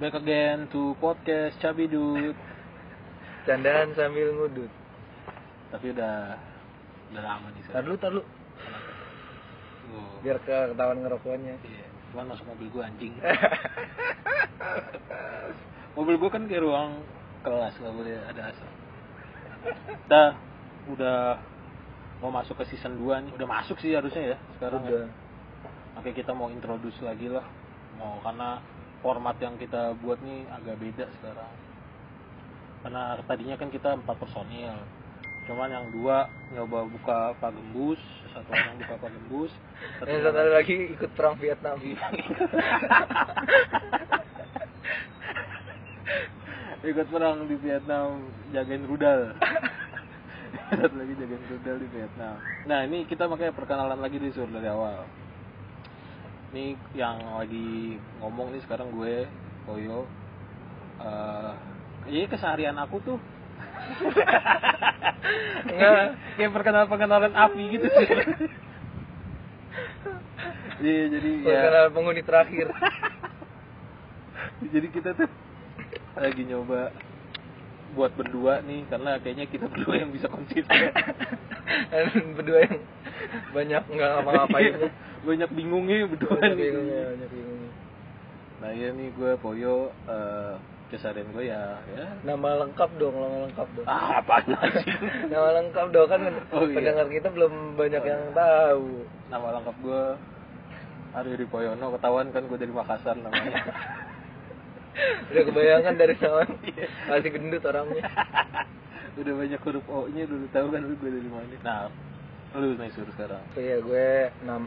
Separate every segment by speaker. Speaker 1: Back again to podcast Cabidut.
Speaker 2: Candaan sambil ngudut.
Speaker 1: Tapi udah udah lama nih
Speaker 2: Tar
Speaker 1: sekarang.
Speaker 2: lu, tar lu.
Speaker 1: Oh,
Speaker 2: Biar ke ketahuan ngerokoknya.
Speaker 1: iya. Cuman masuk mobil gua anjing. mobil gua kan kayak ruang kelas nggak boleh ada asap. Kita udah mau masuk ke season 2 nih. Udah masuk sih harusnya ya sekarang. ya.
Speaker 2: Udah.
Speaker 1: Oke kita mau introduce lagi lah. Mau karena format yang kita buat nih agak beda sekarang. Karena tadinya kan kita empat personil. Cuman yang dua nyoba buka Pak Gembus, satu orang buka Pak Gembus, satu
Speaker 2: Dan Eh, satu
Speaker 1: orang-
Speaker 2: kali lagi ikut perang Vietnam.
Speaker 1: Iya. ikut perang di Vietnam jagain rudal. Satu lagi jagain rudal di Vietnam. Nah ini kita makanya perkenalan lagi di sur dari awal. Ini yang lagi ngomong nih sekarang gue Koyo. Eh, iya keseharian aku tuh
Speaker 2: Enggak.
Speaker 1: kayak perkenalan perkenalan api gitu sih. Iya jadi ya.
Speaker 2: Perkenalan penghuni terakhir.
Speaker 1: jadi kita tuh lagi nyoba buat berdua nih karena kayaknya kita berdua yang bisa konsisten
Speaker 2: Dan berdua yang banyak nggak ngapa-ngapainnya.
Speaker 1: banyak bingungnya Iya. berdua
Speaker 2: Banyak ya.
Speaker 1: nih
Speaker 2: bingungnya, banyak bingungnya.
Speaker 1: nah iya nih gue Poyo eh kesadaran gue ya ya
Speaker 2: Nama lengkap dong, nama lengkap dong.
Speaker 1: ah apa sih
Speaker 2: Nama lengkap dong kan
Speaker 1: Oh, iya.
Speaker 2: pendengar kita belum banyak yang tahu.
Speaker 1: nama lengkap gue Aryo Dwi Poyono ketahuan kan gue dari Makassar namanya
Speaker 2: Udah kebayangan dari
Speaker 1: Iya.
Speaker 2: nama masih gendut orangnya.
Speaker 1: udah banyak huruf O nya dulu tahu kan lu gue dari mana nah lu nih suruh sekarang
Speaker 2: Iya gue nam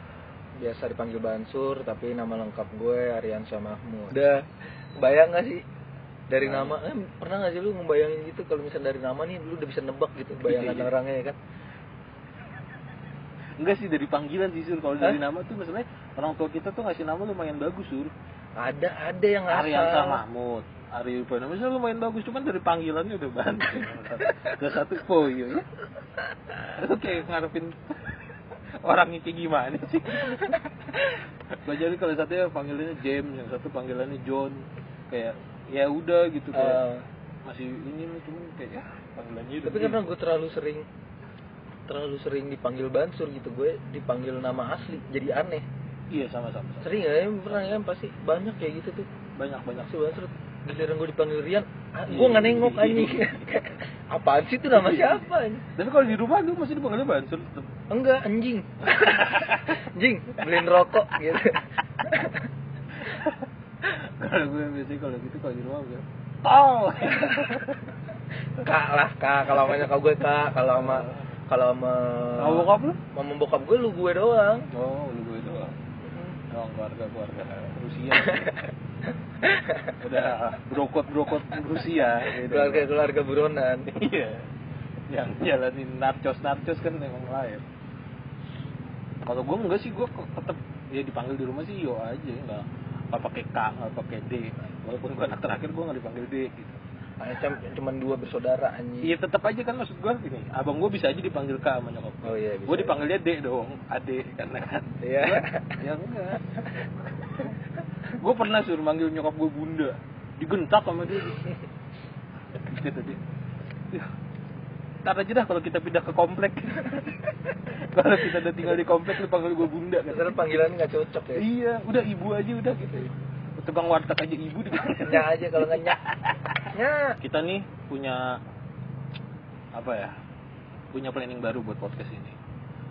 Speaker 2: biasa dipanggil Bansur tapi nama lengkap gue Aryansyah Mahmud. Udah bayang gak sih dari nama eh, pernah gak sih lu ngebayangin gitu kalau misalnya dari nama nih lu udah bisa nebak gitu bayangan
Speaker 1: Iya, iya.
Speaker 2: orangnya ya kan.
Speaker 1: enggak sih dari panggilan sih sur kalau dari
Speaker 2: Hah?
Speaker 1: nama tuh maksudnya orang tua kita tuh ngasih nama lumayan bagus sur
Speaker 2: Ada ada yang asal.
Speaker 1: Ariansa Mahmud Aryo Purnomo sih lumayan bagus cuman dari panggilannya udah banting udah satu poyo ya lu kayak ngarepin orang itu gimana sih Gua jadi kalau satu ya panggilannya James yang satu panggilannya John kayak ya udah gitu kayak
Speaker 2: Eh,
Speaker 1: masih ini nih, cuman kayak ya panggilannya udah gitu.
Speaker 2: tapi karena gue terlalu sering terlalu sering dipanggil Bansur gitu gue dipanggil nama asli jadi aneh.
Speaker 1: iya sama-sama sama.
Speaker 2: Sering gak ya pernah ya pasti banyak kayak gitu tuh.
Speaker 1: banyak banyak
Speaker 2: Si Bansur giliran gue dipanggil Rian, ah,
Speaker 1: Iya,
Speaker 2: gue nggak nengok anjing. Apaan sih itu nama siapa? anjing?
Speaker 1: tapi kalau di rumah lu masih dipanggilnya Bansur tetep.
Speaker 2: Enggak, anjing. anjing, beliin rokok gitu.
Speaker 1: kalau gue biasanya kalau gitu kalau di rumah gue oh
Speaker 2: Kak lah, kak. Kalau namanya kak gue kak, kalau sama kalau sama
Speaker 1: mau bokap lu
Speaker 2: mama bokap gue lu gue doang.
Speaker 1: oh lu gue doang doang keluarga keluarga Rusia udah brokot brokot Rusia gitu.
Speaker 2: Keluarga keluarga buronan.
Speaker 1: iya yang jalanin narcos narcos kan emang lain kalau gue enggak sih gue kok tetep ya dipanggil di rumah sih yo aja enggak nggak pakai K nggak pakai D walaupun gue anak terakhir gue nggak dipanggil D gitu
Speaker 2: Ah, cam- Cuman dua bersaudara anjing.
Speaker 1: Iya tetap aja kan maksud gue gini, abang gue bisa aja dipanggil kak sama nyokap gue.
Speaker 2: Oh iya, bisa.
Speaker 1: Gue dipanggilnya dek dong, adek karena kan.
Speaker 2: Iya.
Speaker 1: ya enggak. gue pernah suruh manggil nyokap gue bunda, digentak sama dia. Terus Kata dia, "Yah, ntar aja dah kalau kita pindah ke komplek. kalau kita udah tinggal di komplek lu panggil gue bunda kan.
Speaker 2: Karena panggilan nggak cocok ya.
Speaker 1: Iya, udah ibu aja udah gitu. Tukang warteg aja ibu dipanggil.
Speaker 2: Nyak aja kalau nggak nyak. Nyak.
Speaker 1: kita nih punya apa ya punya planning baru buat podcast ini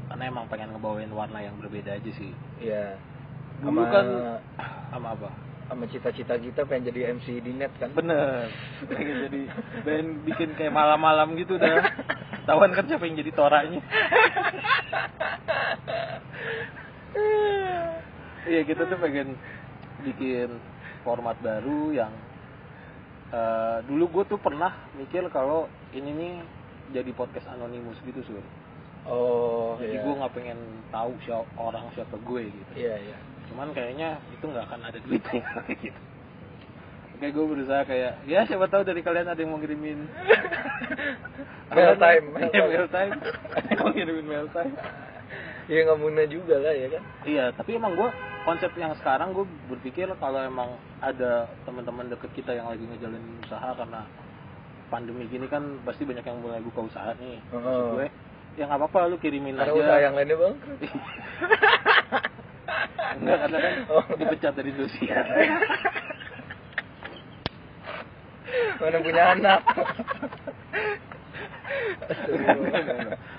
Speaker 1: karena emang pengen ngebawain warna yang berbeda aja sih
Speaker 2: Iya.
Speaker 1: dulu
Speaker 2: Sama-
Speaker 1: kan sama apa
Speaker 2: sama cita-cita kita pengen jadi MC di net kan
Speaker 1: bener pengen jadi pengen bikin kayak malam-malam gitu dah tawan kan siapa yang jadi toranya iya kita tuh pengen bikin format baru yang eh, dulu gue tuh pernah mikir kalau ini nih jadi podcast anonimus gitu sur
Speaker 2: oh
Speaker 1: jadi gue nggak pengen tahu siapa orang siapa gue gitu
Speaker 2: iya iya
Speaker 1: cuman kayaknya itu nggak akan ada duitnya gitu oke gue berusaha kayak ya siapa tahu dari kalian ada yang mau ngirimin Iya,
Speaker 2: Mail time,
Speaker 1: mail
Speaker 2: mail
Speaker 1: time,
Speaker 2: time.
Speaker 1: mail time. ada yang mau ngirimin mail time
Speaker 2: ya nggak muna juga lah ya kan
Speaker 1: Iya, tapi emang gue konsep yang sekarang gue berpikir kalau emang ada teman-teman deket kita yang lagi ngejalanin usaha karena pandemi gini kan pasti banyak yang mulai buka usaha nih. Maksud
Speaker 2: Heeh.
Speaker 1: gue, ya nggak apa-apa lu kirimin
Speaker 2: karena
Speaker 1: aja.
Speaker 2: usaha yang lainnya bangkrut
Speaker 1: Enggak, karena kan
Speaker 2: Oh.
Speaker 1: dipecat dari Indonesia.
Speaker 2: mana punya anak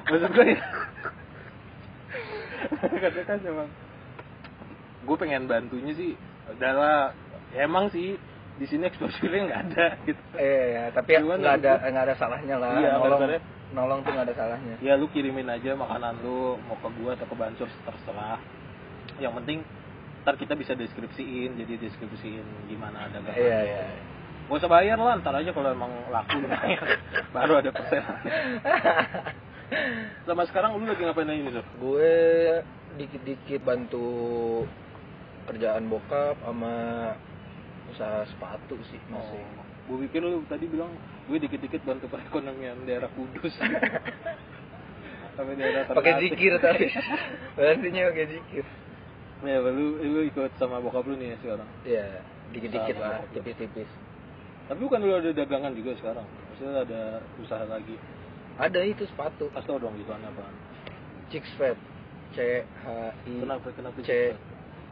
Speaker 1: Maksud gue ya. Karena kan emang gue pengen bantunya sih adalah ya emang sih di sini eksposurnya nggak ada gitu.
Speaker 2: eh ya, tapi
Speaker 1: Cuman
Speaker 2: nggak ada
Speaker 1: maksud
Speaker 2: nggak ada salahnya lah
Speaker 1: Iya,
Speaker 2: nolong
Speaker 1: dasarnya.
Speaker 2: nolong tuh nggak ada salahnya
Speaker 1: ya lu kirimin aja makanan lu mau ke gua atau ke Bansur terserah yang penting ntar kita bisa deskripsiin jadi deskripsiin gimana ada gak
Speaker 2: iya iya
Speaker 1: gak usah bayar lah ntar aja kalau emang laku lu bayar. baru ada persenan sama sekarang lu lagi ngapain aja nih Sur?
Speaker 2: gue dikit-dikit bantu kerjaan bokap sama usaha sepatu sih masih
Speaker 1: gue Oh. pikir lu tadi bilang gue dikit-dikit bantu perekonomian daerah kudus sampai daerah
Speaker 2: pakai
Speaker 1: Ternate.
Speaker 2: zikir tapi pastinya pakai zikir
Speaker 1: ya lu, lu ikut sama bokap lu nih ya sekarang
Speaker 2: ya dikit-dikit
Speaker 1: Sama
Speaker 2: lah
Speaker 1: bokap.
Speaker 2: tipis-tipis
Speaker 1: tapi bukan lu ada dagangan juga sekarang maksudnya ada usaha lagi
Speaker 2: ada itu sepatu
Speaker 1: Kasih tau dong iklannya apa.
Speaker 2: chicks fat c h i
Speaker 1: Kenapa kenapa
Speaker 2: c
Speaker 1: Six Flags?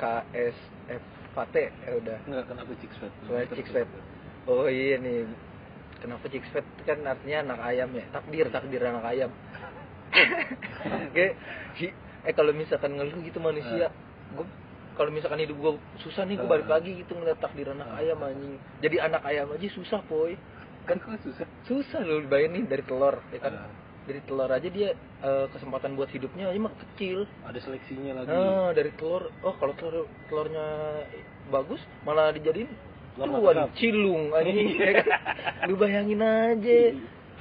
Speaker 2: k s f fat ya udah
Speaker 1: Enggak kenapa Six Flags?
Speaker 2: Soalnya Six Flags. oh iya nih kenapa chicks fat kan artinya anak ayam ya takdir takdir anak ayam oke hi- eh kalau misalkan ngeluh gitu manusia gue kalau misalkan hidup gue susah nih gue balik
Speaker 1: Eh.
Speaker 2: lagi gitu ngeliat takdir anak ayam anjing jadi anak ayam aja susah boy
Speaker 1: Kan kok susah.
Speaker 2: susah loh bayangin dari telur ya kan
Speaker 1: Eh.
Speaker 2: dari telur aja dia eh, kesempatan buat hidupnya aja mah kecil
Speaker 1: Ada seleksinya lagi.
Speaker 2: Nah, dari telur, oh kalau telur telurnya bagus malah dijadiin
Speaker 1: Telur
Speaker 2: tuan
Speaker 1: matahari.
Speaker 2: cilung anjing.
Speaker 1: Iya.
Speaker 2: ya kan? Iya. Lu bayangin aja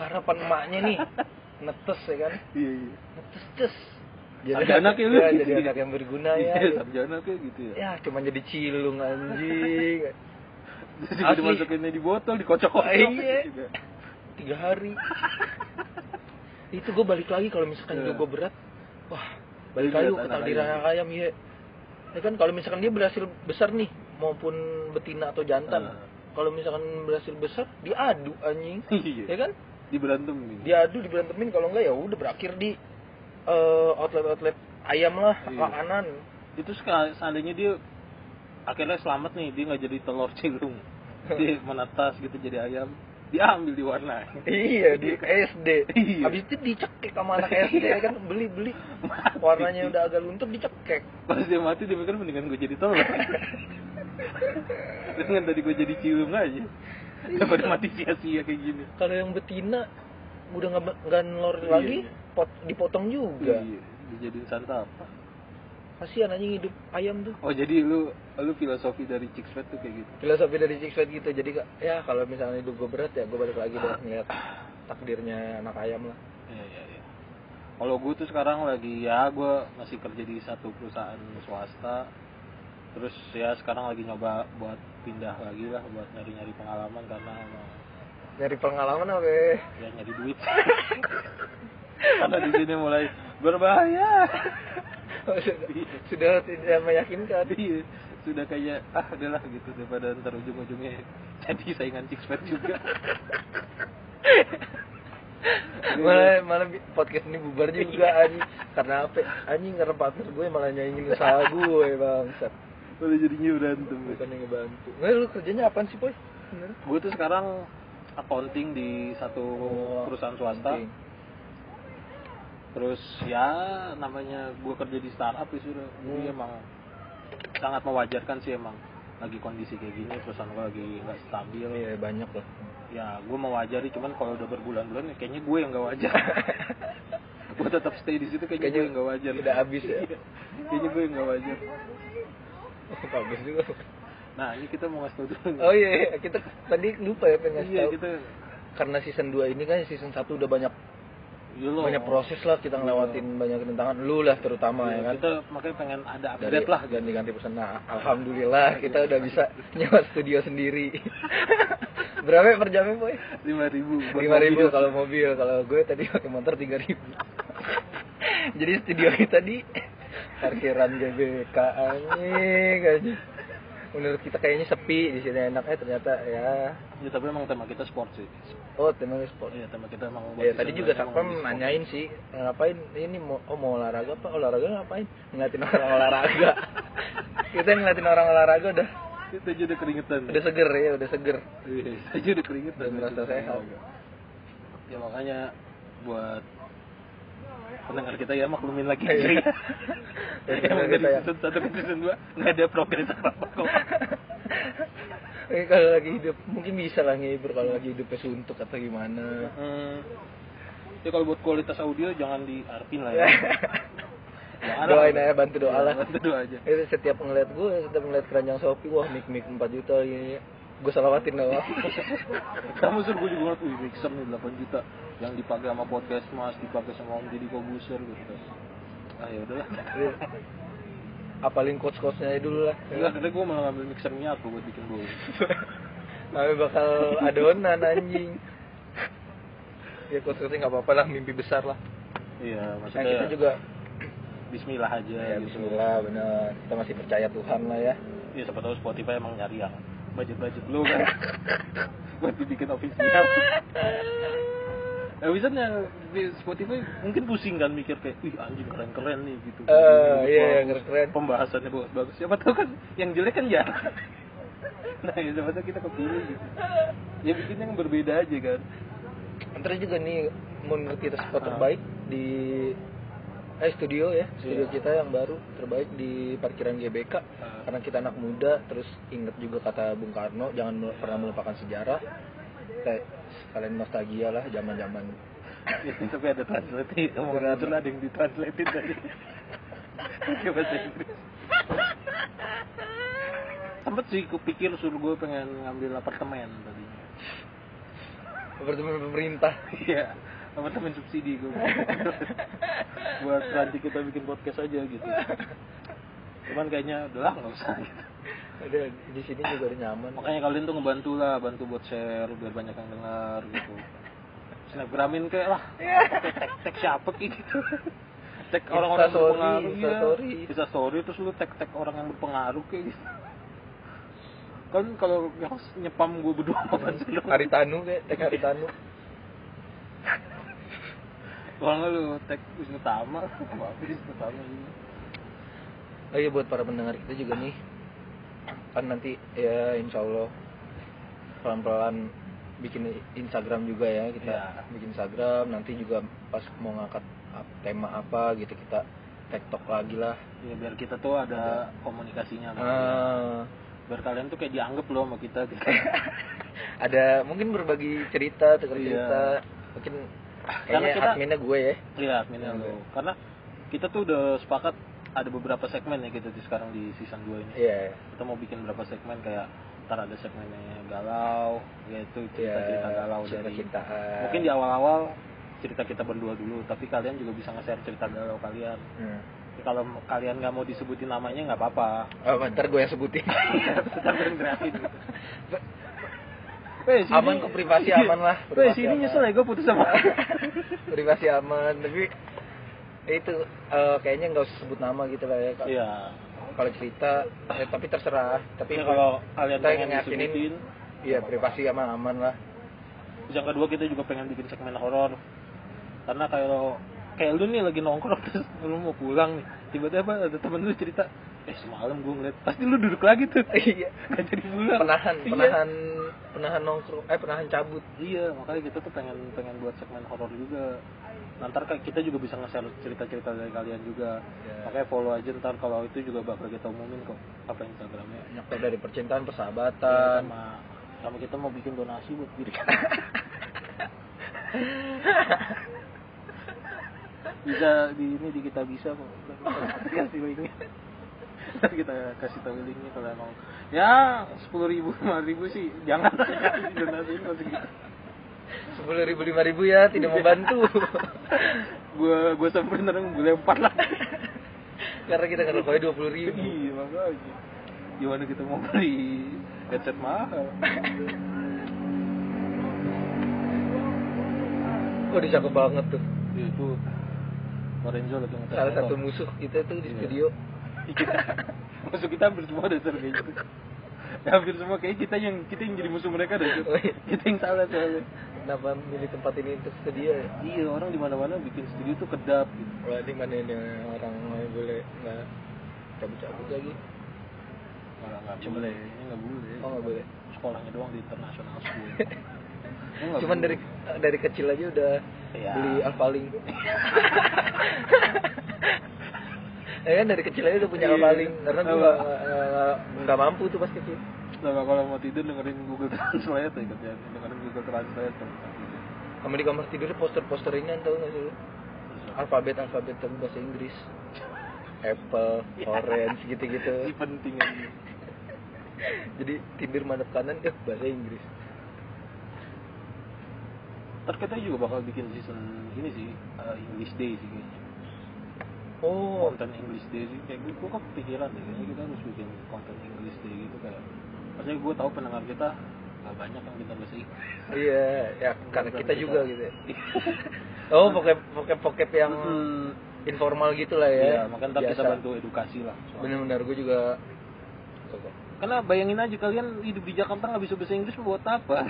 Speaker 2: harapan emaknya nih netes ya kan.
Speaker 1: Iya iya.
Speaker 2: Netes tes.
Speaker 1: Ada anak ya lu.
Speaker 2: ya, jadi anak yang berguna ya.
Speaker 1: Iya, sarjana kayak gitu ya.
Speaker 2: Ya, cuma jadi cilung anjing.
Speaker 1: Terus juga
Speaker 2: Asli.
Speaker 1: dimasukinnya di botol, dikocok-kocok.
Speaker 2: Iya.
Speaker 1: Gitu.
Speaker 2: Tiga hari. Itu gue balik lagi kalau misalkan
Speaker 1: Iya.
Speaker 2: hidup gue berat. Wah,
Speaker 1: Balik
Speaker 2: balik lagi
Speaker 1: lihat
Speaker 2: ke
Speaker 1: anak
Speaker 2: takdiran
Speaker 1: ayam.
Speaker 2: anak ayam ya. Ya kan kalau misalkan dia berhasil besar nih maupun betina atau jantan.
Speaker 1: Ah.
Speaker 2: Kalau misalkan berhasil besar diadu anjing.
Speaker 1: Iya.
Speaker 2: Ya kan?
Speaker 1: Di berantem ini.
Speaker 2: Diadu diberantemin kalau enggak ya udah berakhir di eh, outlet-outlet ayam lah,
Speaker 1: Iya.
Speaker 2: makanan.
Speaker 1: Itu sekal- seandainya dia akhirnya selamat nih, dia nggak jadi telur cilung. Dia menetas gitu jadi ayam. Diambil diwarnai.
Speaker 2: Iya di SD.
Speaker 1: Iya.
Speaker 2: Habis itu dicekek sama anak SD ya kan beli-beli. Warnanya udah agak luntur dicekek.
Speaker 1: Pas dia mati dia mikir mendingan gue jadi telur. Dengan tadi gue jadi cilung aja. Daripada mati sia-sia kayak gini.
Speaker 2: Kalau yang betina udah nggak nggak nelor
Speaker 1: Iya,
Speaker 2: lagi,
Speaker 1: iya.
Speaker 2: pot- dipotong juga.
Speaker 1: Iya, dijadiin santapan.
Speaker 2: Kasihan anjing hidup ayam tuh.
Speaker 1: Oh, jadi lu lu filosofi dari Chicks Fat tuh kayak gitu.
Speaker 2: Filosofi dari Six Flags gitu. Jadi ka- ya kalau misalnya hidup gue berat ya gue balik lagi deh ngeliat takdirnya anak ayam lah.
Speaker 1: Iya, iya, iya. Kalau gue tuh sekarang lagi ya gue masih kerja di satu perusahaan swasta. Terus ya sekarang lagi nyoba buat pindah lagi lah buat nyari-nyari pengalaman karena emang
Speaker 2: Nyari pengalaman apa? ya?
Speaker 1: ya nyari duit. karena di sini mulai berbahaya.
Speaker 2: Sudah- Sudah tidak meyakinkan.
Speaker 1: Iya, sudah kayak ah udahlah gitu daripada ntar ujung-ujungnya jadi saingan six pack juga.
Speaker 2: malah malah bi- podcast ini bubar
Speaker 1: Iya.
Speaker 2: juga anjing karena apa anjing karena partner gue malah nyaingin usaha gue bang
Speaker 1: Udah jadinya berantem.
Speaker 2: bukan yang ngebantu nggak lu kerjanya apaan sih boy Bener.
Speaker 1: Gue tuh sekarang accounting di satu Oh, perusahaan swasta.
Speaker 2: penting.
Speaker 1: Terus ya namanya gue kerja di startup ya sudah. Jadi
Speaker 2: Hmm.
Speaker 1: emang sangat mewajarkan sih emang lagi kondisi kayak gini
Speaker 2: Hmm.
Speaker 1: perusahaan gue lagi nggak stabil
Speaker 2: iya banyak lah
Speaker 1: ya gue mewajari cuman kalau udah berbulan-bulan ya kayaknya gue yang nggak wajar gue tetap stay di situ kayaknya, gue yang nggak wajar
Speaker 2: udah habis ya
Speaker 1: Iya. kayaknya gue yang nggak wajar
Speaker 2: habis juga
Speaker 1: nah ini kita mau ngasih tau dulu nih.
Speaker 2: oh iya, iya kita tadi lupa ya pengen ngasih
Speaker 1: iya
Speaker 2: tahu
Speaker 1: kita
Speaker 2: karena season 2 ini kan season 1 udah banyak
Speaker 1: iya loh.
Speaker 2: banyak proses lah kita ngelewatin banyak rintangan lu lah terutama
Speaker 1: Iya,
Speaker 2: ya kan
Speaker 1: kita makanya pengen ada update
Speaker 2: dari
Speaker 1: lah
Speaker 2: ganti-ganti pesan nah, alhamdulillah kita udah bisa nyewa studio sendiri berapa ya per jamnya boy
Speaker 1: lima ribu
Speaker 2: lima ribu kalau mobil kalau gue tadi pakai motor tiga ribu Jadi studio kita di parkiran GBK anjing aja. Menurut kita kayaknya sepi di sini enak eh ternyata ya.
Speaker 1: Ya tapi emang tema kita sport sih.
Speaker 2: Oh, temanya sport.
Speaker 1: Iya tema kita emang.
Speaker 2: Ya, tadi juga
Speaker 1: emang
Speaker 2: Satpam
Speaker 1: di sport.
Speaker 2: nanyain sih, "Eh, ngapain ini mau oh, mau olahraga apa? Olahraga ngapain? Ngeliatin orang olahraga. kita ngeliatin orang olahraga udah
Speaker 1: Kita aja udah keringetan.
Speaker 2: udah seger ya, udah seger.
Speaker 1: Iya, Kita aja udah keringetan.
Speaker 2: Udah merasa sehat.
Speaker 1: Ya makanya buat pendengar kita ya maklumin lagi.
Speaker 2: Iya.
Speaker 1: Emang
Speaker 2: Pendengar
Speaker 1: dari
Speaker 2: kita ya.
Speaker 1: season satu ke season dua nggak ada progres apa-apa kok.
Speaker 2: Eh, kalau lagi hidup mungkin bisa lah ngibur kalau lagi hidupnya suntuk atau gimana.
Speaker 1: Hmm. Ya kalau buat kualitas audio jangan diarpin lah ya. Doa lah.
Speaker 2: Iya. Doain aja bantu doa lah.
Speaker 1: Bantu doa aja.
Speaker 2: Itu setiap ngeliat gue, setiap ngeliat keranjang Shopee, wah mik mik 4 juta ya. Gue salawatin doang.
Speaker 1: Kamu suruh gue juga ngeliat, wih mixer nih 8 juta Yang dipakai sama podcast mas, dipakai sama Om Didi Kobuser gitu Ah yaudahlah
Speaker 2: Apalin coach-coachnya aja dulu lah.
Speaker 1: Enggak, karena gue Iya, malah ngambil mixer minyak gue buat bikin gue
Speaker 2: Tapi bakal adonan anjing. Ya coach-coachnya nggak apa-apa lah, mimpi besar lah.
Speaker 1: Iya,
Speaker 2: Yang Nah, kita
Speaker 1: maksudnya
Speaker 2: juga
Speaker 1: bismillah aja
Speaker 2: ya,
Speaker 1: gitu
Speaker 2: Bismillah bener. Kita masih percaya Tuhan lah ya.
Speaker 1: Iya, siapa tahu Spotify emang nyari yang budget-budget lu kan Buat dibikin official Eh, Wizard yang di Spotify mungkin pusing kan mikir kayak, wih anjing keren-keren nih gitu
Speaker 2: Eh, iya, iya, keren-keren.
Speaker 1: Pembahasannya bagus-bagus Siapa tahu kan yang jelek kan ya Nah, ya, siapa tahu kita kepilih gitu Ya bikin yang berbeda aja kan
Speaker 2: Terus juga nih menurut kita spot terbaik di eh studio ya, studio
Speaker 1: Iya.
Speaker 2: kita yang baru terbaik di parkiran GBK. Karena kita anak muda, terus inget juga kata Bung Karno, jangan mele- pernah melupakan sejarah. Kayak kalian nostalgia lah zaman-zaman.
Speaker 1: Ya, tapi ada translate omongan Azul ada yang ditranslatein tadi pakai bahasa Inggris sempet sih kupikir suruh gue pengen ngambil apartemen tadinya
Speaker 2: Apartemen pemerintah.
Speaker 1: iya apartemen subsidi gue buat nanti kita bikin podcast aja gitu cuman kayaknya udahlah nggak usah gitu
Speaker 2: Ada di sini juga udah nyaman.
Speaker 1: makanya kalian tuh ngebantu lah bantu buat share biar banyak yang dengar gitu snapgramin kayak lah Kayak tag tag siapa kayak gitu tag orang-orang yang
Speaker 2: Instastory,
Speaker 1: berpengaruh iya.
Speaker 2: Instastory.
Speaker 1: bisa story terus lu tag tag orang yang berpengaruh kayak gitu kan kalau yang nyepam gue berdua sama Bansu lu
Speaker 2: Haritanu kayak, tag Haritanu.
Speaker 1: kalau nggak lu tag Wisnu Tama apa Wisnu Tama gitu
Speaker 2: Oh iya buat para pendengar kita juga nih kan nanti ya insya Allah pelan-pelan bikin Instagram juga ya kita
Speaker 1: Iya.
Speaker 2: bikin Instagram nanti juga pas mau ngangkat ap- tema apa gitu kita TikTok lagi lah
Speaker 1: ya biar kita tuh ada komunikasinya sama dia.
Speaker 2: Ah,
Speaker 1: biar kalian tuh kayak dianggap loh sama kita gitu
Speaker 2: ada mungkin berbagi cerita tukar
Speaker 1: Iya.
Speaker 2: cerita mungkin
Speaker 1: Karena
Speaker 2: kayaknya
Speaker 1: kita-
Speaker 2: adminnya gue ya
Speaker 1: Iya, adminnya
Speaker 2: Iya,
Speaker 1: lo. Karena kita tuh udah sepakat ada beberapa segmen ya gitu di sekarang di season 2 ini.
Speaker 2: iya
Speaker 1: Kita mau bikin berapa segmen kayak ntar ada segmennya galau, yaitu cerita-cerita
Speaker 2: Iya,
Speaker 1: galau dari
Speaker 2: cintaan
Speaker 1: mungkin di awal-awal cerita kita berdua dulu, tapi kalian juga bisa nge-share cerita galau kalian.
Speaker 2: Hmm.
Speaker 1: Tapi Kalau kalian nggak mau disebutin namanya nggak apa-apa.
Speaker 2: oh, ntar gue yang sebutin
Speaker 1: Kita bareng gratis. Weh, sini- Iya.
Speaker 2: Aman kok, privasi aman lah,
Speaker 1: Weh,
Speaker 2: privasi
Speaker 1: sini
Speaker 2: aman.
Speaker 1: nyesel ya gue putus sama.
Speaker 2: privasi aman tapi ya itu eh, kayaknya nggak usah sebut nama gitu lah ya Kak.
Speaker 1: Iya.
Speaker 2: kalau cerita eh, tapi terserah tapi
Speaker 1: Tapi Iya, kalau kalian
Speaker 2: Iya, kita
Speaker 1: pengen
Speaker 2: ngeyakinin,
Speaker 1: disebutin,
Speaker 2: iya privasi aman aman lah
Speaker 1: Terus yang kedua kita juga pengen bikin segmen horor. Karena kalau kayak lu nih lagi nongkrong terus lu mau pulang nih, tiba-tiba ada temen lu cerita, "Eh, semalam gue ngeliat." Pasti lu duduk lagi tuh.
Speaker 2: iya
Speaker 1: Gak jadi pulang.
Speaker 2: penahan
Speaker 1: Iya.
Speaker 2: penahan penahan nongkrong eh penahan cabut
Speaker 1: Iya, makanya kita tuh pengen pengen buat segmen horor juga. Nanti kayak kita juga bisa nge-share cerita-cerita dari kalian juga.
Speaker 2: Iya.
Speaker 1: Makanya follow aja ntar kalau itu juga bakal kita umumin kok apa Instagramnya.
Speaker 2: banyak tuh dari percintaan
Speaker 1: Iya,
Speaker 2: persahabatan
Speaker 1: sama sama kita mau bikin donasi buat diri bisa di ini di kita bisa kok Nanti kasih linknya Nanti kita kasih tahu linknya kalau emang ya sepuluh ribu lima ribu sih jangan kasih donasi masih gitu
Speaker 2: sepuluh ribu lima ribu ya tidak mau bantu
Speaker 1: gue gue samperin orang gue lempar lah
Speaker 2: karena kita ngerokoknya dua puluh ribu
Speaker 1: iya makanya gimana kita mau beli headset mahal
Speaker 2: oh dicakep banget tuh
Speaker 1: itu Iya, Lorenzo lagi ngetes
Speaker 2: salah satu
Speaker 1: motor.
Speaker 2: musuh kita tuh
Speaker 1: Oh.
Speaker 2: di
Speaker 1: Iya.
Speaker 2: studio
Speaker 1: musuh Iya. kita hampir semua ada kayak gitu Ya, hampir semua kayak kita yang kita yang jadi musuh mereka deh
Speaker 2: Oh,
Speaker 1: Sur.
Speaker 2: iya.
Speaker 1: kita yang salah soalnya
Speaker 2: kenapa milih tempat ini untuk studio ya
Speaker 1: iya orang di mana mana bikin studio tuh kedap gitu
Speaker 2: berarti mana ini orang nggak boleh nggak cabut-cabut lagi
Speaker 1: orang nggak boleh ini nggak boleh
Speaker 2: oh nggak boleh
Speaker 1: sekolahnya doang di international school Ini nggak
Speaker 2: cuman
Speaker 1: boleh.
Speaker 2: dari dari kecil aja udah
Speaker 1: Iya.
Speaker 2: beli alpaling ya kan dari kecil aja udah punya
Speaker 1: Iya.
Speaker 2: alpaling karena gue
Speaker 1: Apa?
Speaker 2: nggak eh, nggak mampu tuh pas kecil
Speaker 1: Sama Nah, kalau mau tidur dengerin Google Translate ya kerjaan dengerin Google Translate kalau mau tidur.
Speaker 2: kamu di kamar tidurnya poster-poster ringan tau nggak sih lu? alfabet alfabet tapi bahasa Inggris apple orange
Speaker 1: Ini
Speaker 2: gitu-gitu
Speaker 1: penting aja.
Speaker 2: jadi tidur madep kanan eh bahasa Inggris
Speaker 1: Ntar kita juga bakal bikin season ini sih uh, English Day sih kayaknya.
Speaker 2: oh
Speaker 1: Konten English Day sih kayak gue, gue kepikiran deh kayaknya kita harus bikin konten English Day gitu kayak. Maksudnya gue tahu pendengar kita nggak banyak yang pintar bahasa Inggris.
Speaker 2: iya ya karena kita
Speaker 1: Kita-
Speaker 2: juga gitu ya. oh pokep pokep pokep yang
Speaker 1: Hmm,
Speaker 2: informal gitu lah ya
Speaker 1: Iya, makanya ntar kita
Speaker 2: Biasa.
Speaker 1: bantu edukasi lah. soal-
Speaker 2: bener-bener gue juga
Speaker 1: Karena bayangin aja kalian hidup di Jakarta nggak bisa bahasa Inggris buat apa?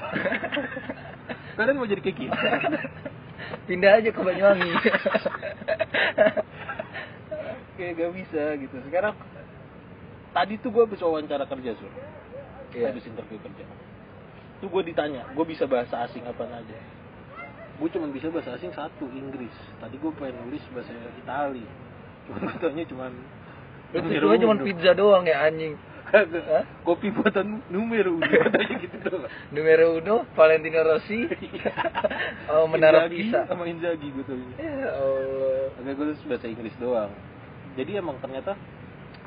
Speaker 1: kalian mau jadi kayak kita?
Speaker 2: pindah aja ke Banyuwangi
Speaker 1: gitu. kayak gak bisa gitu sekarang tadi tuh gue habis wawancara kerja sur
Speaker 2: Iya.
Speaker 1: habis interview kerja tuh gue ditanya gue bisa bahasa asing apa aja gue cuma bisa bahasa asing satu Inggris tadi gue pengen nulis bahasa Itali cuma gue tanya cuman
Speaker 2: Lu tujuannya cuma pizza doang ya anjing Hah?
Speaker 1: kopi buatan numero udah katanya gitu doang
Speaker 2: numero uno Valentino Rossi oh menara
Speaker 1: Inzaghi
Speaker 2: Pisa
Speaker 1: sama Inzaghi gue tanya
Speaker 2: ya Allah
Speaker 1: Agak gue lulus bahasa Inggris doang. Jadi emang ternyata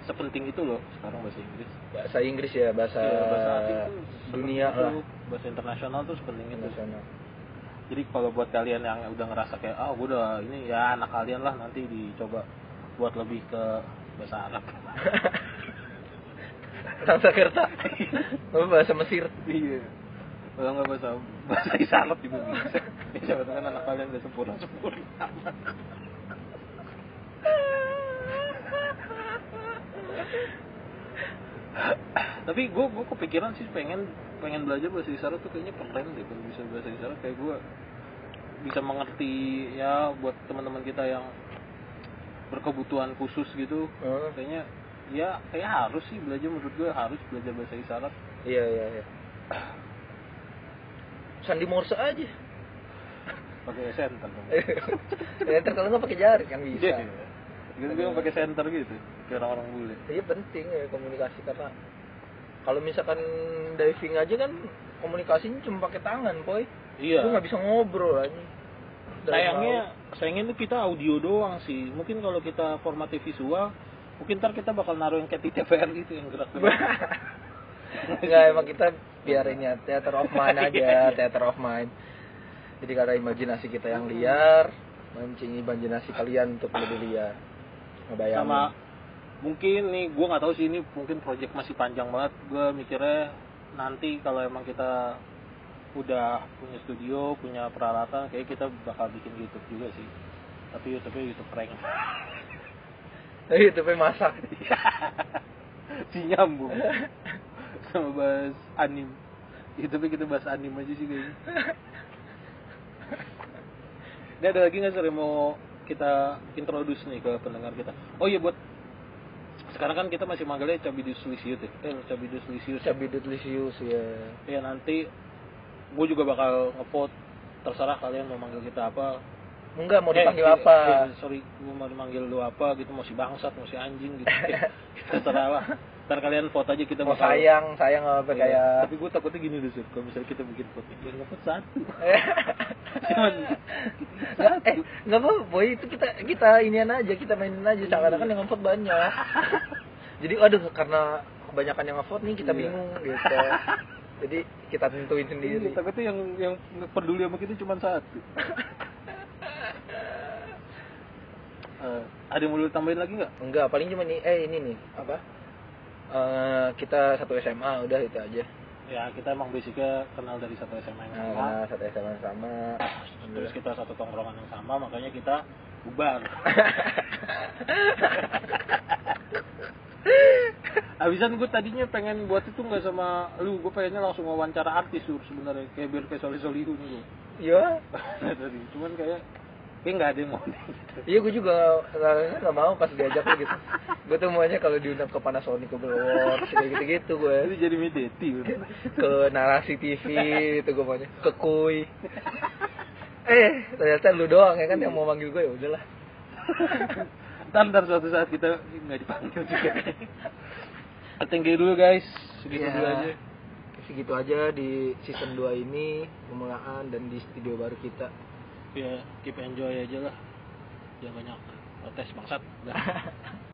Speaker 1: sepenting itu loh sekarang bahasa Inggris.
Speaker 2: bahasa Inggris ya bahasa,
Speaker 1: Iya, bahasa asing tuh sepenting
Speaker 2: dunia
Speaker 1: itu,
Speaker 2: lah Iya.
Speaker 1: Bahasa internasional tuh sepenting itu.
Speaker 2: Internasional.
Speaker 1: Jadi kalau buat kalian yang udah ngerasa kayak ah gue udah ini ya anak kalian lah nanti dicoba buat lebih ke bahasa Arab.
Speaker 2: Transjakarta oh, bahasa Mesir
Speaker 1: iya. Kalau nggak bahasa bahasa isyarat juga bisa. Ya, Siapa tahu kan anak kalian udah sempurna sempurna. Tapi gue gue kepikiran sih pengen pengen belajar bahasa isyarat tuh kayaknya keren deh kalau bisa bahasa isyarat kayak gue bisa mengerti ya buat teman-teman kita yang berkebutuhan khusus gitu
Speaker 2: Oh,
Speaker 1: kayaknya ya kayak harus sih belajar menurut gue harus belajar bahasa isyarat
Speaker 2: iya iya iya Sandi Morse aja
Speaker 1: pakai senter dong.
Speaker 2: ya, ntar kalau nggak pakai jari kan Eh, bisa
Speaker 1: Iya. Gitu gue pakai senter gitu, kayak orang-orang bule.
Speaker 2: Iya penting ya komunikasi karena kalau misalkan diving aja kan komunikasinya cuma pakai tangan, boy.
Speaker 1: Iya.
Speaker 2: Lu nggak bisa ngobrol aja. Dalam
Speaker 1: Sayangnya, sayangnya tuh kita audio doang sih. Mungkin kalau kita formatnya visual, mungkin ntar kita bakal naruh yang kayak di TVR gitu yang gerak gerak.
Speaker 2: laut. nggak emang kita biarin ya theater of mind
Speaker 1: Iya,
Speaker 2: aja, theater of mind. Jadi karena imajinasi kita yang liar, mancing imajinasi kalian untuk lebih liar. Ngebayangin.
Speaker 1: Sama mungkin nih gue nggak tahu sih ini mungkin project masih panjang banget. Gue mikirnya nanti kalau emang kita udah punya studio, punya peralatan, kayak kita bakal bikin YouTube juga sih. Tapi YouTube-nya YouTube prank.
Speaker 2: Eh, itu pe masak.
Speaker 1: si nyambung sama bahas anim itu tapi kita bahas anim aja sih kayaknya ini ada lagi nggak sih yang mau kita introduce nih ke pendengar kita oh iya buat sekarang kan kita masih manggilnya Cabidus Lisius ya eh, Cabidus Lisius
Speaker 2: Cabidut Lisius ya.
Speaker 1: ya nanti gue juga bakal ngevote terserah kalian mau manggil kita apa
Speaker 2: Enggak mau
Speaker 1: Eh,
Speaker 2: dipanggil
Speaker 1: eh,
Speaker 2: apa?
Speaker 1: eh, sorry, gue mau dipanggil lu apa gitu, mau si bangsat, mau si anjing gitu. Terserah lah. Ntar kalian vote aja kita
Speaker 2: Mau
Speaker 1: bakal-
Speaker 2: sayang, sayang apa
Speaker 1: Iya.
Speaker 2: kayak
Speaker 1: Tapi gue takutnya gini deh, Sur. Kalau misalnya kita bikin podcast, yang ngevote satu. Cuman,
Speaker 2: Nggak, eh, nggak apa, boy itu kita kita inian aja, kita mainin aja. Seakan-akan yang ngevote banyak. Jadi, aduh, karena kebanyakan yang ngevote nih kita
Speaker 1: Iya.
Speaker 2: bingung gitu. Jadi kita tentuin sendiri.
Speaker 1: Iya, takutnya yang yang peduli sama kita cuma satu. Eh, ada yang mau lu tambahin lagi nggak?
Speaker 2: Enggak, paling cuma nih, eh ini nih apa? Eh, kita satu SMA udah itu aja.
Speaker 1: Ya kita emang basicnya kenal dari satu SMA yang sama.
Speaker 2: Nah, satu SMA sama.
Speaker 1: terus kita satu tongkrongan yang sama makanya kita bubar abisan gue tadinya pengen buat itu nggak sama lu gue pengennya langsung wawancara artis sur sebenarnya kayak biar kayak soleh solihun gue
Speaker 2: Iya.
Speaker 1: tadi cuman kayak kayak nggak ada yang mau gitu
Speaker 2: Iya gue juga nggak nggak mau pas diajak lu gitu. Gue tuh maunya kalau diundang ke Panasonic ke Awards kayak gitu-gitu gue.
Speaker 1: jadi jadi medeti
Speaker 2: Ke narasi TV itu gue maunya. Ke Kuy. Eh ternyata lu doang ya kan yang mau manggil gue ya udahlah.
Speaker 1: ntar ntar suatu saat kita nggak dipanggil juga thank you dulu guys segitu
Speaker 2: Ya,
Speaker 1: dulu aja
Speaker 2: Segitu gitu aja di season 2 ini pemulaan dan di studio baru kita.
Speaker 1: ya keep enjoy aja lah jangan banyak protes bangsat oh, Udah.